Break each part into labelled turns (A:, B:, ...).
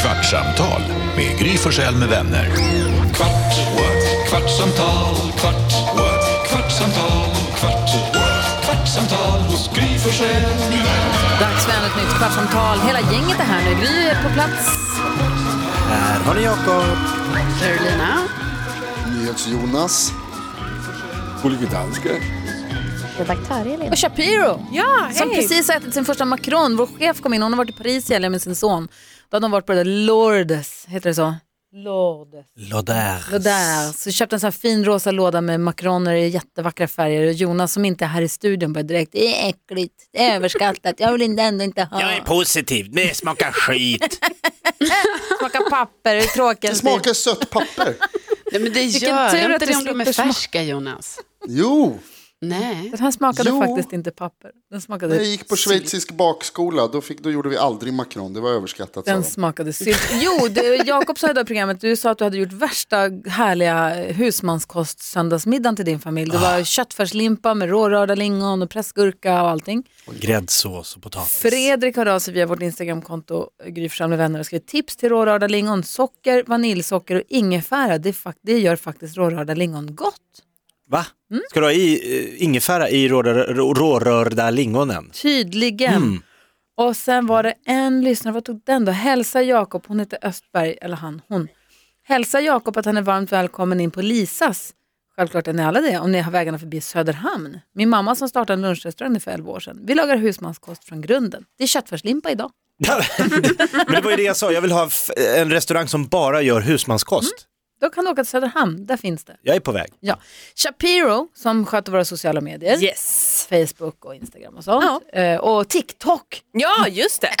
A: Kvartsamtal med Gry Forssell med vänner. Kvart, what? kvartsamtal, kvart, what? kvartsamtal, kvart, what? kvartsamtal hos Gry Forssell med vänner.
B: Dags för ännu ett nytt kvartsamtal. Hela gänget är här nu. Gry är på plats.
C: Här har ni Jakob.
B: Carolina.
D: NyhetsJonas.
B: Och Shapiro.
E: Ja,
B: Som
E: hej!
B: precis har ätit sin första macron. Vår chef kom in. Hon har varit i Paris i helgen med sin son. Då hade de varit på det där Lourdes. Heter det så? Lourdes.
C: Lodär.
B: Det där. Så köpte en sån här fin rosa låda med makroner i jättevackra färger. Och Jonas som inte är här i studion började direkt. Det är äckligt. Det är överskattat. Jag vill inte, ändå inte ha.
C: Jag är positiv, det smakar skit.
B: Smaka papper. Det är tråkigt.
D: Det smakar sött papper.
F: Nej, men det
B: Vilken
F: gör
B: tur att
F: inte
B: du
F: det om de är
B: slipper smak.
F: färska, Jonas.
D: Jo,
F: Nej.
B: Den här smakade
D: Jo.
B: faktiskt inte papper. Den smakade
D: när jag gick på schweizisk bakskola då, fick, då gjorde vi aldrig makron. Det var överskattat. sa
B: Den
D: de.
B: smakade sylt. Jo, du, Jakob sa idag i programmet, du sa att du hade gjort värsta härliga husmanskost söndagsmiddagen till din familj. Det var köttfärslimpa med rårörda lingon och pressgurka och allting.
C: Gräddsås och potatis.
B: Fredrik hör av sig via vårt Instagramkonto, Gry Forssell med vänner, och skriver tips till rårörda lingon, socker, vaniljsocker och ingefära. Det, är fak- det gör faktiskt rårörda lingon gott.
C: Va? Ska du ha i eh, ingefära i rårör- rå- rårörda lingonen?
B: Tydligen. Och sen var det en lyssnare, vad tog den då? Hälsa Jakob, hon heter Östberg, eller han, hon. Hälsa Jakob att han är varmt välkommen in på Lisas. Självklart är ni alla det, om ni har vägarna förbi Söderhamn. Min mamma som startade en lunchrestaurang för 11 år sedan. Vi lagar husmanskost från grunden. Det är köttfärslimpa idag.
C: Men det var ju det jag sa, jag vill ha f- en restaurang som bara gör husmanskost.
B: Då kan du åka till Söderhamn, där finns det.
C: Jag är på väg.
B: Ja. Shapiro, som sköter våra sociala medier,
E: Yes.
B: Facebook och Instagram och sånt. Eh, och TikTok.
E: Ja, just det.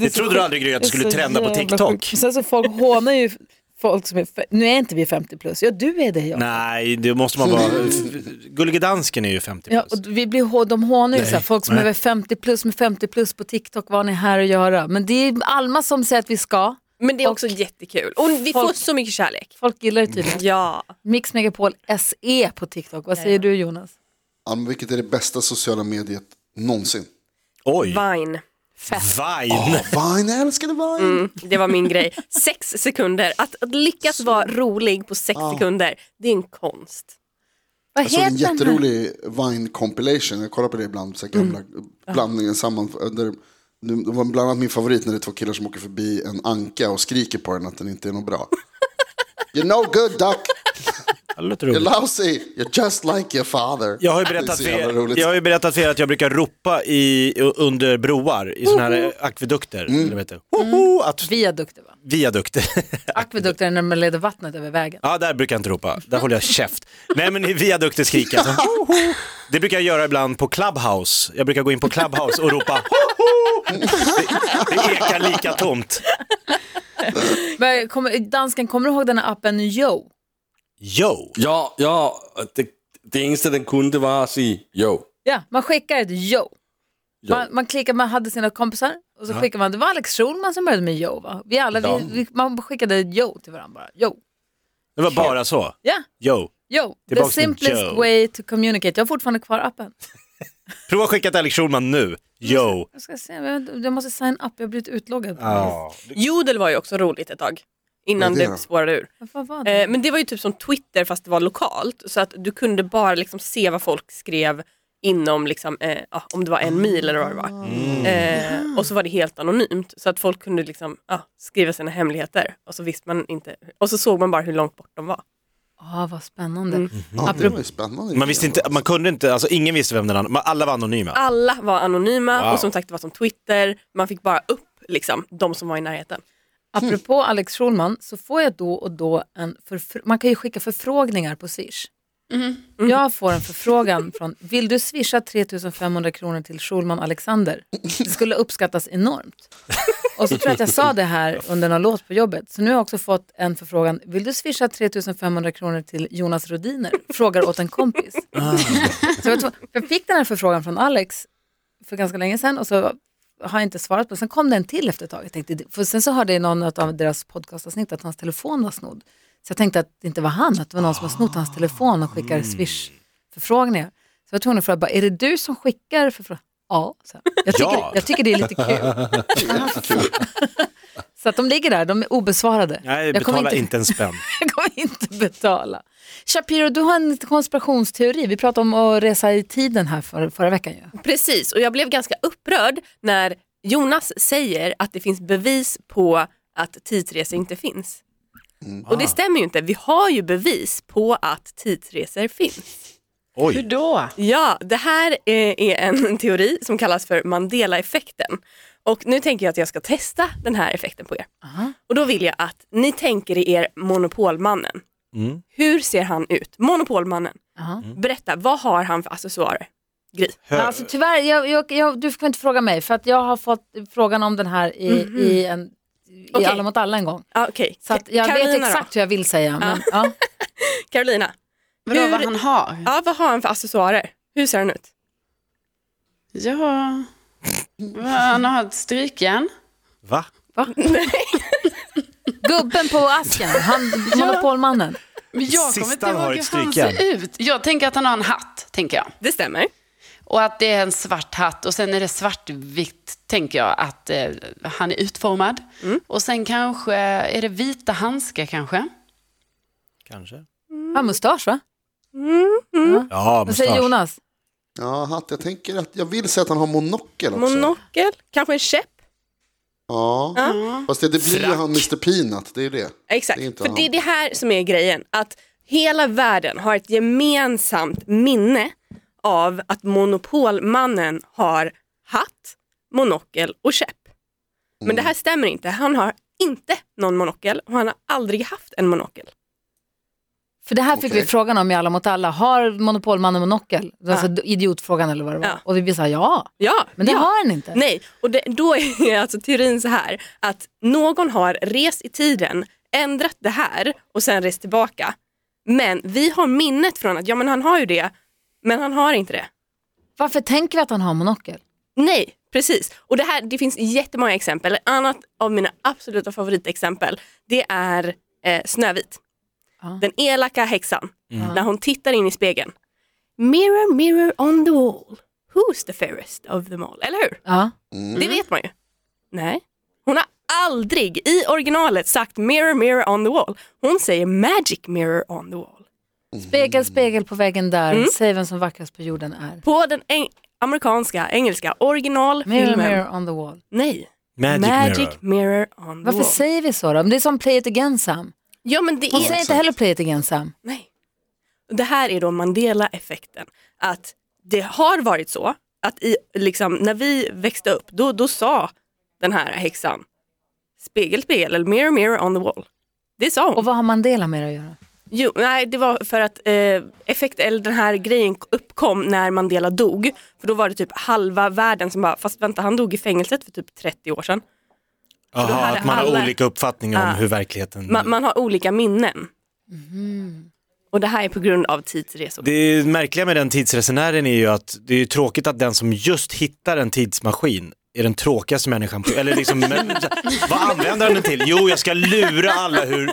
C: Det trodde du aldrig Gry att du skulle trenda på TikTok.
B: Sen så folk hånar ju folk som är, fe- nu är inte vi 50 plus, ja du är det jag.
C: Nej, det måste man vara. Gullige dansken är ju 50
B: Ja,
C: plus.
B: och vi blir, hå- de hånar ju
C: Nej,
B: så här, folk som
C: nej.
B: är över 50 plus med 50 plus på TikTok, vad har ni här att göra? Men det är Alma som säger att vi ska,
E: Men det är också jättekul. Och vi får så mycket kärlek.
B: folk gillar det
C: Mm.
B: tydligen.
E: Ja.
B: Mix Megapol SE på TikTok, vad säger du Jonas?
D: Ja, men vilket är det bästa sociala mediet någonsin?
C: Oj,
D: Mm.
E: Vine.
C: Vine.
D: Oh, Vine, jag älskade Vine.
E: Mm, det var min grej. Sex sekunder. Att, att lyckas vara rolig på sex sekunder, det är en konst.
B: Vad
D: Jag såg en
B: heter den här?
D: Alltså, jätterolig Vine compilation. Jag kollar på det ibland, så här gamla blandningen samman. Där, nu- det var bland annat min favorit när det är två killar som åker förbi en anka och skriker på den att den inte är något bra. You're no good duck,
C: Det låter
D: you're
C: roligt.
D: lousy, you're just like your father.
C: Jag har, ju
D: Det är
C: berättat
D: så
C: för
D: jävla roligt.
C: er, jag har ju berättat för er att jag brukar ropa i, under broar i sådana här akvedukter.
D: Mm.
C: Eller vad heter det? Hoho, att,
B: Viadukter va?
C: viadukter.
B: Akvedukter är när man leder vattnet över vägen.
C: ja, där brukar jag inte ropa. Där håller jag käft. Nej, men i viadukter skriker jag. så här, hoho. Det brukar jag göra ibland på Clubhouse. Jag brukar gå in på Clubhouse och ropa hoho. Det, det ekar lika tomt.
B: Men kommer, dansken, kommer du ihåg den här appen Yo?
C: Yo!
G: Ja, ja, og det, det eneste den kunne, det var at sige jo.
B: Ja, man skickar ett Yo.
G: jo.
B: Man, man klickade, man hade sina kompisar och så skickade man, det var Alex Schulman som började med Yo va? Vi alla, vi, vi, man skickade Yo till varandra bara, Yo.
C: Det var bara så.
B: Ja,
C: Yo!
B: Yo, the
C: Tillbaks till
B: simplest
C: Yo.
B: way to communicate. Jag har fortfarande kvar appen.
C: Prova att skicka till Alex Schulman nu. Yo!
B: Jag ska se, jag, vet- jag måste sign up, jag har blivit utloggad.
C: Ja.
E: Jodel var ju också roligt ett tag. Innan
D: Vad är det
E: det
D: då?
E: spårade ur.
B: Vad var det?
E: Eh, men det var ju typ som Twitter fast det var lokalt. Så att du kunde bara liksom se vad folk skrev inom, liksom, eh, ja, om det var en mil eller vad det var. Eh, och så var det helt anonymt. Så att folk kunde liksom, ja, skriva sina hemligheter. Och så visste man inte. Och så såg man bara hur långt bort de var.
B: Ah, vad spännande.
D: Ja, det var ju spännande.
C: Man visste inte, man kunde inte, alltså ingen visste vem den andra, man- alla var anonyma.
B: Ah.
E: Alla var anonyma
C: Wow.
E: och som sagt det var som Twitter. Man fick bara upp liksom, de som var i närheten.
B: Apropå Alex Schulman så får jag då och då en förfr- man kan ju skicka förfrågningar på Swish. Jag får en förfrågan från, vill du swisha 3500 kronor till Schulman Alexander? Det skulle uppskattas enormt. Och så tror jag att jag sa det här under någon låt på jobbet, så nu har jag också fått en förfrågan, vill du swisha 3500 kronor till Jonas Rodiner? Frågar åt en kompis. Så jag, var tvungen- jag fick den här förfrågan från Alex för ganska länge sedan och så har jag inte svarat på. Sen kom den till efter ett tag. Jag tänkte, för sen så hörde jag i någon av deras podcastavsnitt att hans telefon var snodd. Så jag tänkte att det inte var han, att det var någon som har snott hans telefon och skickar Swish-förfrågningar. Så jag var tvungen att fråga, bara, är det du som skickar förfrågningar? Ja, så jag. Jag, tycker,
C: Ja.
B: jag tycker det är lite kul. Så att de ligger där, de är obesvarade.
C: Nej,
B: jag, kommer
C: betala
B: inte,
C: inte... en spänn.
B: jag kommer inte betala. Shapiro, du har en konspirationsteori. Vi pratade om att resa i tiden här för, förra veckan. Ju.
E: Precis, och jag blev ganska upprörd när Jonas säger att det finns bevis på att tidsresor inte finns. Och det stämmer ju inte, vi har ju bevis på att tidsresor finns.
C: Oj.
F: då?
E: Ja, det här eh, är en teori som kallas för Mandela-effekten. Och nu tänker jag att jag ska testa den här effekten på er. Och då vill jag att ni tänker i er Monopolmannen.
C: Mm.
E: Hur ser han ut? Monopolmannen,
B: Aha.
E: berätta, vad har han för accessoarer? Gry.
B: Men Alltså, tyvärr, jag, jag, jag, du får inte fråga mig för att jag har fått frågan om den här i, i, en, i
E: Okej.
B: Alla mot alla en gång.
E: Ah, Okej,
B: Så att jag
E: Carolina
B: vet
E: då?
B: exakt hur jag vill säga. Men, ja.
E: Carolina,
F: Vadå,
E: Hur-
F: vad han har?
E: Ja, vad har han för accessoarer? Hur ser han ut?
F: Ja, vad han har ett strykjärn.
C: Va?
B: Gubben på asken, han, monopolmannen.
F: Men jag kommer inte
C: Sistan
F: ihåg
C: har
F: hur
C: ett
F: han
C: strykjärn.
F: ser ut. Jag tänker att han har en hatt, tänker jag.
E: Det stämmer.
F: Och att det är en svart hatt och sen är det svartvitt, tänker jag, att eh, han är utformad. Och sen kanske, är det vita handskar kanske?
C: Kanske.
B: Har mustasch va?
C: Ja,
B: Vad säger
C: mustasch.
B: Jonas?
D: Ja, hatt. Jag tänker att jag vill säga att han har monokel också.
E: Monokel, kanske en käpp.
D: ja. Fast det, det blir ju han Mr Peanut, det är ju det.
E: Exakt,
D: Det är inte
E: för
D: han.
E: det är det här som är grejen. Att hela världen har ett gemensamt minne av att monopolmannen har hatt, monokel och käpp. Men
D: Mm.
E: det här stämmer inte. Han har inte någon monokel och han har aldrig haft en monokel.
B: För det här fick
D: Okej.
B: vi frågan om i Alla mot alla. Har monopolmannen monokel? Alltså idiotfrågan eller vad det var.
E: Ja.
B: Och vi sa ja,
E: Ja,
B: men det
E: ja.
B: har han inte.
E: Nej, och det, då är alltså teorin så här att någon har rest i tiden, ändrat det här och sen rest tillbaka. Men vi har minnet från att ja men han har ju det, men han har inte det.
B: Varför tänker vi att han har monokel?
E: Nej, precis. Och det, här, det finns jättemånga exempel. Ett annat av mina absoluta favoritexempel det är eh, Snövit.
B: Ja.
E: Den elaka häxan, när hon tittar in i spegeln. Mirror, mirror on the wall, who's the fairest of them all? Eller hur?
B: Ja.
E: Det vet man ju. Mm. Nej. Hon har aldrig i originalet sagt mirror, mirror on the wall. Hon säger magic mirror on the wall. Mm.
B: Spegel, spegel på väggen där, säg vem som vackrast på jorden är.
E: På den eng- amerikanska, engelska originalfilmen.
B: Mirror, mirror on the wall.
E: Nej.
C: Magic, mirror.
E: Magic mirror, on the
B: Varför
E: wall.
B: säger vi så då? Men Det är som play it again Sam.
E: ja, men det
B: Hon
E: är...
B: säger inte heller play it again Sam.
E: Nej. Och Det här är då Mandela-effekten. Att det har varit så att i, liksom, när vi växte upp då, då sa den här häxan spegel, spegel eller mirror, mirror on the wall. Det sa hon.
B: Och vad har Mandela med det att göra?
E: Jo, nej, det var för att eh, effekt, eller den här grejen uppkom när Mandela dog. För då var det typ halva världen som bara, fast vänta han dog i fängelset för typ 30 år sedan. Då
C: Jaha,
E: hade
C: att man har
E: alla-
C: olika uppfattningar om
E: Ah.
C: hur verkligheten...
E: Man,
B: Mm.
E: man har olika minnen.
B: Mm-hmm.
E: Och det här är på grund av tidsresor.
C: Det märkliga med den tidsresenären är ju att det är ju tråkigt att den som just hittar en tidsmaskin är den tråkigaste människan på, eller liksom, men, vad använder han den till? Jo, jag ska lura alla hur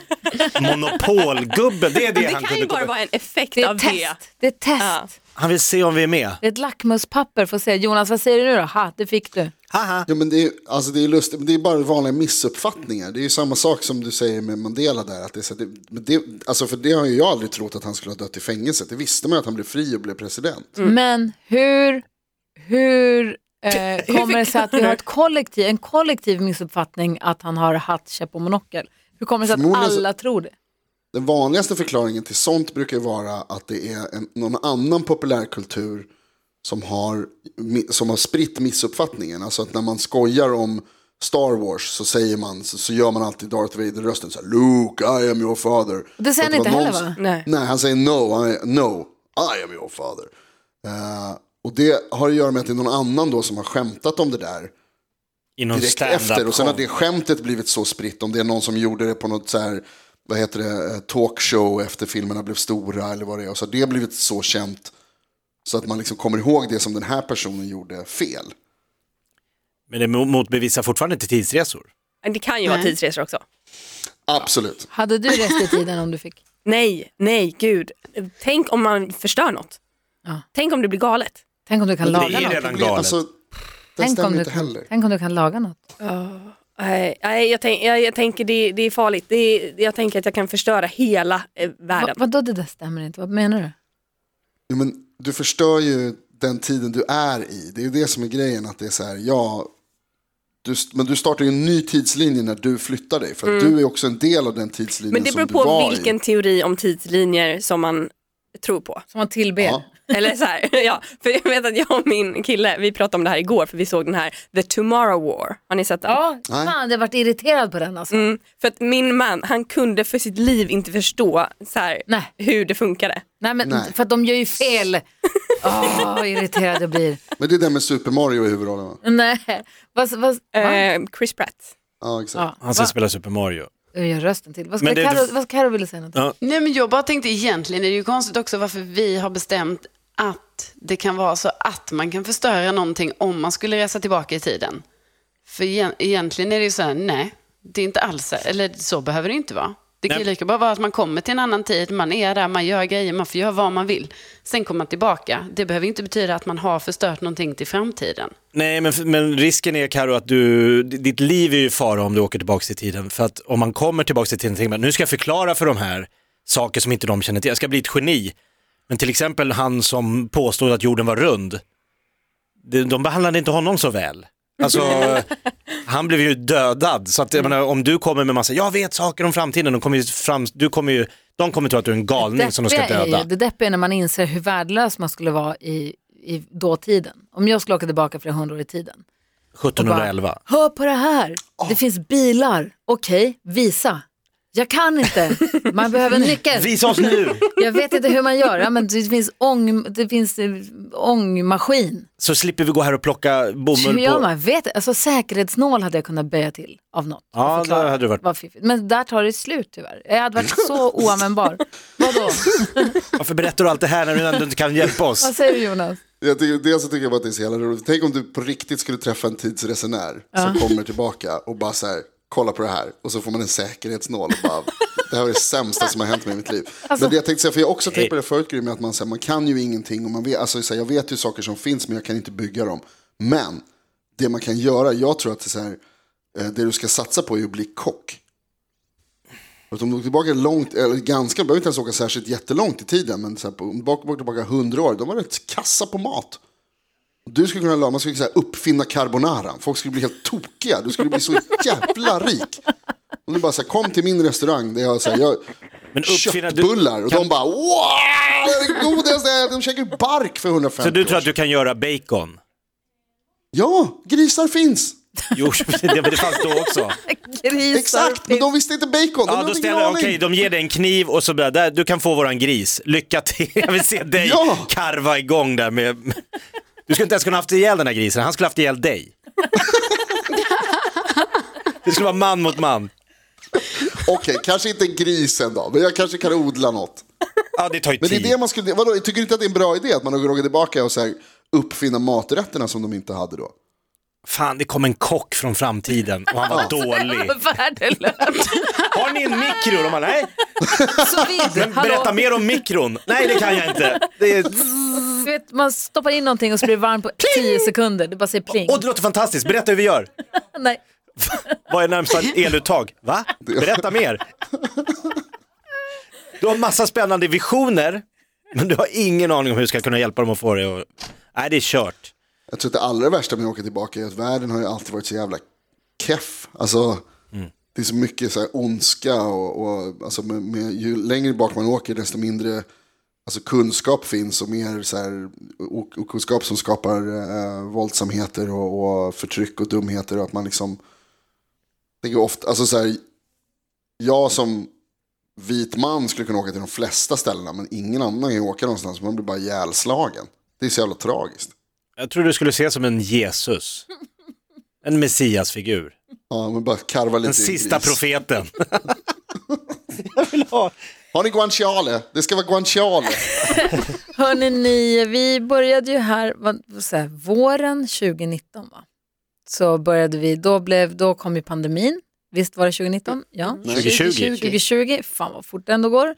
C: monopolgubben, det är det,
E: Det
C: han
E: kan
C: kunde
E: ju
C: komma
E: bara vara en effekt
B: Det är
E: av
B: ett test. Det är ett test.
E: Ja.
C: Han vill se om vi är med.
B: Det är ett lackmuspapper för att säga Jonas vad säger du nu då? Ha, det fick du.
C: Haha.
D: Ja, men det, är, alltså det, är lustigt, men det är bara vanliga missuppfattningar. Det är ju samma sak som du säger med Mandela där. Att det, är så att det, men det, alltså för det har ju jag aldrig trott att han skulle ha dött i fängelset. Det visste man ju att han blev fri och blev president.
B: Men hur, hur eh, kommer det sig att vi har ett kollektiv, en kollektiv missuppfattning att han har hatt, käpp och monokel? Hur kommer det sig att
D: Förmodligen så-
B: alla tror det?
D: Den vanligaste förklaringen till sånt brukar ju vara att det är en, någon annan populärkultur som har, mi- som har spritt missuppfattningen. Alltså att när man skojar om Star Wars så säger man, så, så gör man alltid Darth Vader-rösten så här, Luke, I am your father.
B: Det säger
D: För
B: han
D: att det var
B: inte
D: någon
B: heller,
D: som-
E: va? Nej.
D: Nej, han säger no, han är, no, I am your father. Eh, och det har att göra med att det är någon annan då som har skämtat om det där
C: I någon
D: direkt
C: stand-up
D: efter. Och sen har
C: show.
D: det skämtet blivit så spritt. Om det är någon som gjorde det på något så här, vad heter det, eh, talkshow efter filmerna blev stora eller vad det är. Och så har det blivit så känt så att man liksom kommer ihåg det som den här personen gjorde fel.
C: Men det mo- motbevisar fortfarande inte tidsresor.
E: Det kan ju vara
F: Nej.
E: tidsresor också.
D: Absolut.
B: Hade du rest i tiden om du fick?
E: Nej, nej, gud. Tänk om man förstör något.
B: Ja.
E: Tänk om det blir galet.
B: Tänk om du kan
C: Det
B: laga
C: är
B: något?
C: redan galet.
D: Alltså, det
B: Tänk om,
D: stämmer
B: du
D: inte
B: kan,
D: heller.
B: tänk om du kan laga något?
E: Nej, nej, Eh, jag, tänk, jag, jag tänker det, det är farligt. Det är, jag tänker att jag kan förstöra hela eh,
B: Va,
E: världen.
B: vadå det där stämmer inte? Vad menar du?
D: Jo, men du förstör ju den tiden du är i. Det är ju det som är grejen. Att det är så här, ja, du, men du startar ju en ny tidslinje när du flyttar dig. För att du är också en del av den tidslinjen
E: Mm. Men det beror
D: som du var
E: på vilken
D: i.
E: teori om tidslinjer som man tror på.
B: Som man tillber?
D: Ja.
E: Eller så här, ja, för jag vet att jag och min kille, vi pratade om det här igår för vi såg den här The Tomorrow War. Har ni sett den?
B: Ja,
D: Nej.
B: fan jag har varit irriterad på den alltså.
E: Mm, för att min man, han kunde för sitt liv inte förstå så här,
B: Nej.
E: hur det funkade.
B: Nej, men,
D: Nej.
B: för att de gör ju fel. Åh, vad irriterad jag blir.
D: Men det är det med Super Mario i huvudrollen va?
B: Nej, vad, vad, va?
E: Eh, Chris Pratt.
D: Ja, exakt.
B: Ja,
C: Han ska
B: va?
C: spela Super Mario.
B: Jag gör rösten till. Vad, ska
C: Men det-
B: Karo, vad Karo ville säga? Något?
C: Ja.
F: Nej, men jag bara tänkte egentligen är det ju konstigt också varför vi har bestämt att det kan vara så att man kan förstöra någonting om man skulle resa tillbaka i tiden. För egen- egentligen är det ju så här, nej, det är inte alls så. Eller så behöver det inte vara. Det kan ju
C: Nej.
F: lika bra vara att man kommer till en annan tid, man är där, man gör grejer, man får göra vad man vill. Sen kommer man tillbaka. Det behöver inte betyda att man har förstört någonting till framtiden.
C: Nej, men, men risken är Karo att du, ditt liv är ju i fara om du åker tillbaka till tiden. För att om man kommer tillbaka till tiden och tänker man, nu ska jag förklara för de här saker som inte de känner till. Jag ska bli ett geni. Men till exempel han som påstod att jorden var rund, de, de behandlade inte honom så väl. Alltså, han blev ju dödad. Så att,
B: Mm.
C: jag menar, om du kommer med massa, jag vet saker om framtiden, de kommer ju, fram, du kommer ju, de kommer tro att du är en galning Alltså, som de ska
B: Deppiga är
C: döda.
B: ju- Det deppiga är när man inser hur värdelös man skulle vara i, i dåtiden. Om jag skulle åka tillbaka flera hundra år i tiden. och bara,
C: 1711.
B: Hör på det här, det finns bilar. Okej, visa. Jag kan inte, man behöver en nyckel.
C: Visa oss nu!
B: Jag vet inte hur man gör, ja, men det finns, ång, det finns eh, ångmaskin.
C: Så slipper vi gå här och plocka
B: Hur
C: bomull
B: gör
C: på...
B: man? Vet, alltså, säkerhetsnål hade jag kunnat böja till av något. och
C: Ja,
B: förklara
C: där hade du varit-
B: vad fiffigt. Men där tar det slut tyvärr. Jag hade varit så oanvändbar. Vadå?
C: Varför berättar du allt det här när du ändå inte kan hjälpa
B: Vad
C: oss?
B: säger du Jonas?
D: Jag tycker, dels så tycker jag bara att det är så jävla roligt. Tänk om du på riktigt skulle träffa en tidsresenär som kommer tillbaka och bara så här, kolla på det här. Och så får man en säkerhetsnål och bara, det här är det sämsta som har hänt mig i mitt liv. Men det jag tänkte säga, för jag har också tänkt på det förut, Gry, med att man, så här, man kan ju ingenting. Och man vet, alltså, så här, jag vet ju saker som finns, men jag kan inte bygga dem. Men det man kan göra, jag tror att det, är så här, eh, det du ska satsa på är att bli kock. För att om du åker tillbaka långt, eller ganska, behöver inte ens åka särskilt jättelångt i tiden, men så här, på- om du åker tillbaka hundra år, då var det kassa på mat. Du skulle kunna, la- man skulle kunna så här, uppfinna carbonaran, folk skulle bli helt tokiga, du skulle bli så jävla rik. Om du bara så här, kom till min restaurang där jag, så här, jag
C: Men uppfinna, du,
D: köttbullar och de bara wow, det är det godaste, jag ätit." de käkar ju bark för 150
C: så du tror
D: år
C: att du kan göra bacon?
D: Ja, grisar finns.
C: Jo, det, men det fanns då också.
B: Grisar
D: Exakt, men de visste inte bacon. De
C: Ja,
D: hade
C: då
D: ingen
C: ställer,
D: aning.
C: okej, de ger dig en kniv och så bara, där, du kan få våran gris. Lycka till, jag vill se dig
D: Ja.
C: karva igång där med... Du skulle inte ens kunna haft ihjäl den här grisen, han skulle haft ihjäl dig. Det skulle vara man mot man.
D: Okej, kanske inte grisen då, men jag kanske kan odla något.
C: Ja, det tar ju
D: Men det
C: tid.
D: är det man skulle, vadå, tycker du inte att det är en bra idé att man har dragit tillbaka och så här, uppfinna maträtterna som de inte hade då?
C: Fan, det kom en kock från framtiden och han var dålig.
B: Värdelöst.
C: Har ni en mikro? De bara, nej.
B: Så vid,
C: Berätta
B: hallå.
C: mer om mikron. Nej, det kan jag inte. Det är...
B: Du vet, man stoppar in någonting och så blir det varmt på 10 sekunder. Det bara säger pling.
C: Åh, det låter fantastiskt. Berätta hur vi gör.
B: Nej.
C: Vad är närmsta eluttag? Va? Berätta mer. Du har massa spännande visioner, men du har ingen aning om hur du ska kunna hjälpa dem att få det att... Nej, det är kört.
D: Jag tror att det allra värsta med att åka tillbaka är att världen har ju alltid varit så jävla keff. Alltså, Det är så mycket så här ondska och, och alltså, med, med, ju längre bak man åker desto mindre alltså, kunskap finns och mer så här, och, och kunskap som skapar eh, våldsamheter och, och förtryck och dumheter. Och att man liksom, det är ofta, alltså, så här, jag som vit man skulle kunna åka till de flesta ställena men ingen annan kan åka någonstans. Man blir bara ihjälslagen. Det är så jävla tragiskt.
C: Jag tror du skulle se som en Jesus. En messiasfigur.
D: Ja, men bara karva lite
C: Den
D: i
C: sista
D: gris.
C: profeten. Jag vill ha...
D: Har ni guanciale? Det ska vara guanciale.
B: Hörrni, ni, vi började ju här, vad, vad säger jag, våren 2019 va? Så började vi, då, blev, då kom ju pandemin. Visst var det 2019? Ja.
D: 2020.
C: 2020.
B: 2020, fan vad fort det ändå går.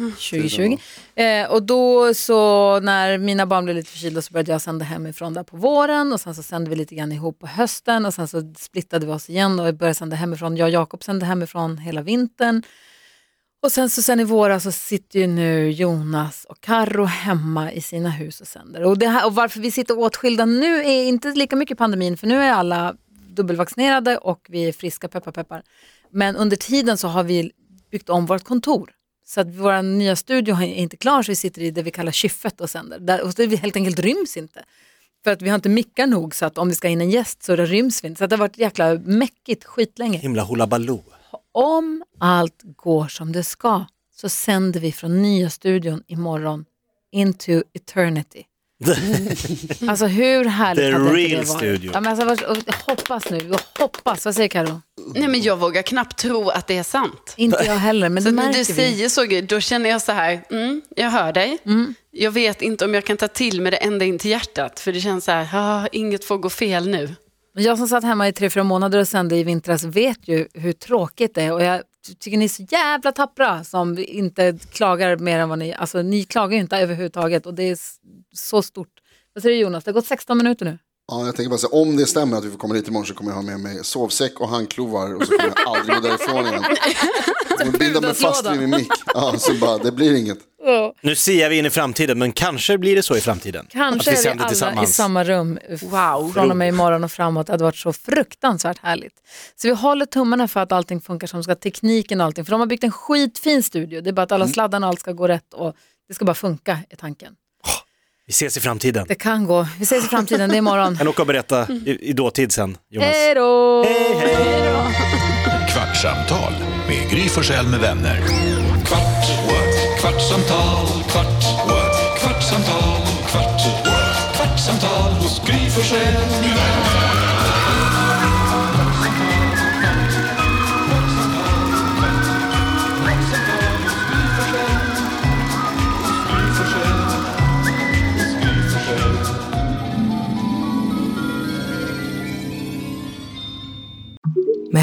B: 2020. Eh, och då så när mina barn blev lite förkylda så började jag sända hemifrån där på våren och sen så sände vi lite grann ihop på hösten och sen så splittade vi oss igen och började sända hemifrån. Jag och Jakob sände hemifrån hela vintern. Och sen så sen i våras så sitter ju nu Jonas och Karo hemma i sina hus och sänder. Och, det här, och varför vi sitter åtskilda nu är inte lika mycket pandemin för nu är alla dubbelvaccinerade och vi är friska, peppar peppar. Men under tiden så har vi byggt om vårt kontor. Så att vår nya studio är inte klar så vi sitter i det vi kallar kyffet och sänder. Där, och det vi helt enkelt ryms inte. För att vi har inte mickar nog så att om vi ska in en gäst så det ryms vi inte. Så att det har varit jäkla mäckigt skitlänge
C: Himla hullabaloo.
B: om allt går som det ska så sänder vi från nya studion imorgon into eternity. alltså hur härligt
C: The
B: hade inte
C: real
B: det varit?
C: studio.
B: Ja, men alltså, vars- och hoppas nu, och hoppas. Vad säger Karo?
F: Nej, men jag vågar knappt tro att det är sant.
B: Inte jag heller, men
F: Så
B: det
F: när
B: märker
F: du
B: vi. Mm.
F: säger så, Gud, då känner jag så här, mm, jag hör dig. Jag vet inte om jag kan ta till mig det ända in till hjärtat, för det känns så här, ah, inget får gå fel nu.
B: Men jag som satt hemma i tre, fyra månader och sände i vintras vet ju hur tråkigt det är och jag tycker ni är så jävla tappra som inte klagar mer än vad ni, alltså ni klagar ju inte överhuvudtaget och det är s- så stort. Vad säger du Jonas, det har gått 16 minuter nu.
D: Ja, jag tänker bara så här, om det stämmer att vi får komma hit imorgon så kommer jag ha med mig sovsäck och handklovar och så kommer jag aldrig gå därifrån igen. Jag kommer binda mig fast vid min mick. Ja, så bara, det blir inget.
C: Nu ser vi in i framtiden, men kanske blir det så i framtiden.
B: Kanske
C: att vi
B: är vi
C: sänder
B: alla i
C: tillsammans.
B: samma rum wow. från och med imorgon och framåt. Det hade varit så fruktansvärt härligt. Så vi håller tummarna för att allting funkar som ska, tekniken och allting. För de har byggt en skitfin studio, det är bara att alla sladdarna och allt ska gå rätt och det ska bara funka är tanken.
C: Vi ses i framtiden.
B: Det kan gå. Vi ses i framtiden, det är imorgon.
C: Kan åka och berätta i, i dåtid sen, Jonas.
B: Hej då!
A: Kvartsamtal med Gry Forssell med vänner. Kvart, what? kvartsamtal, kvart, what? kvartsamtal, kvart, what? kvartsamtal hos Gry Forssell med vänner.
H: Med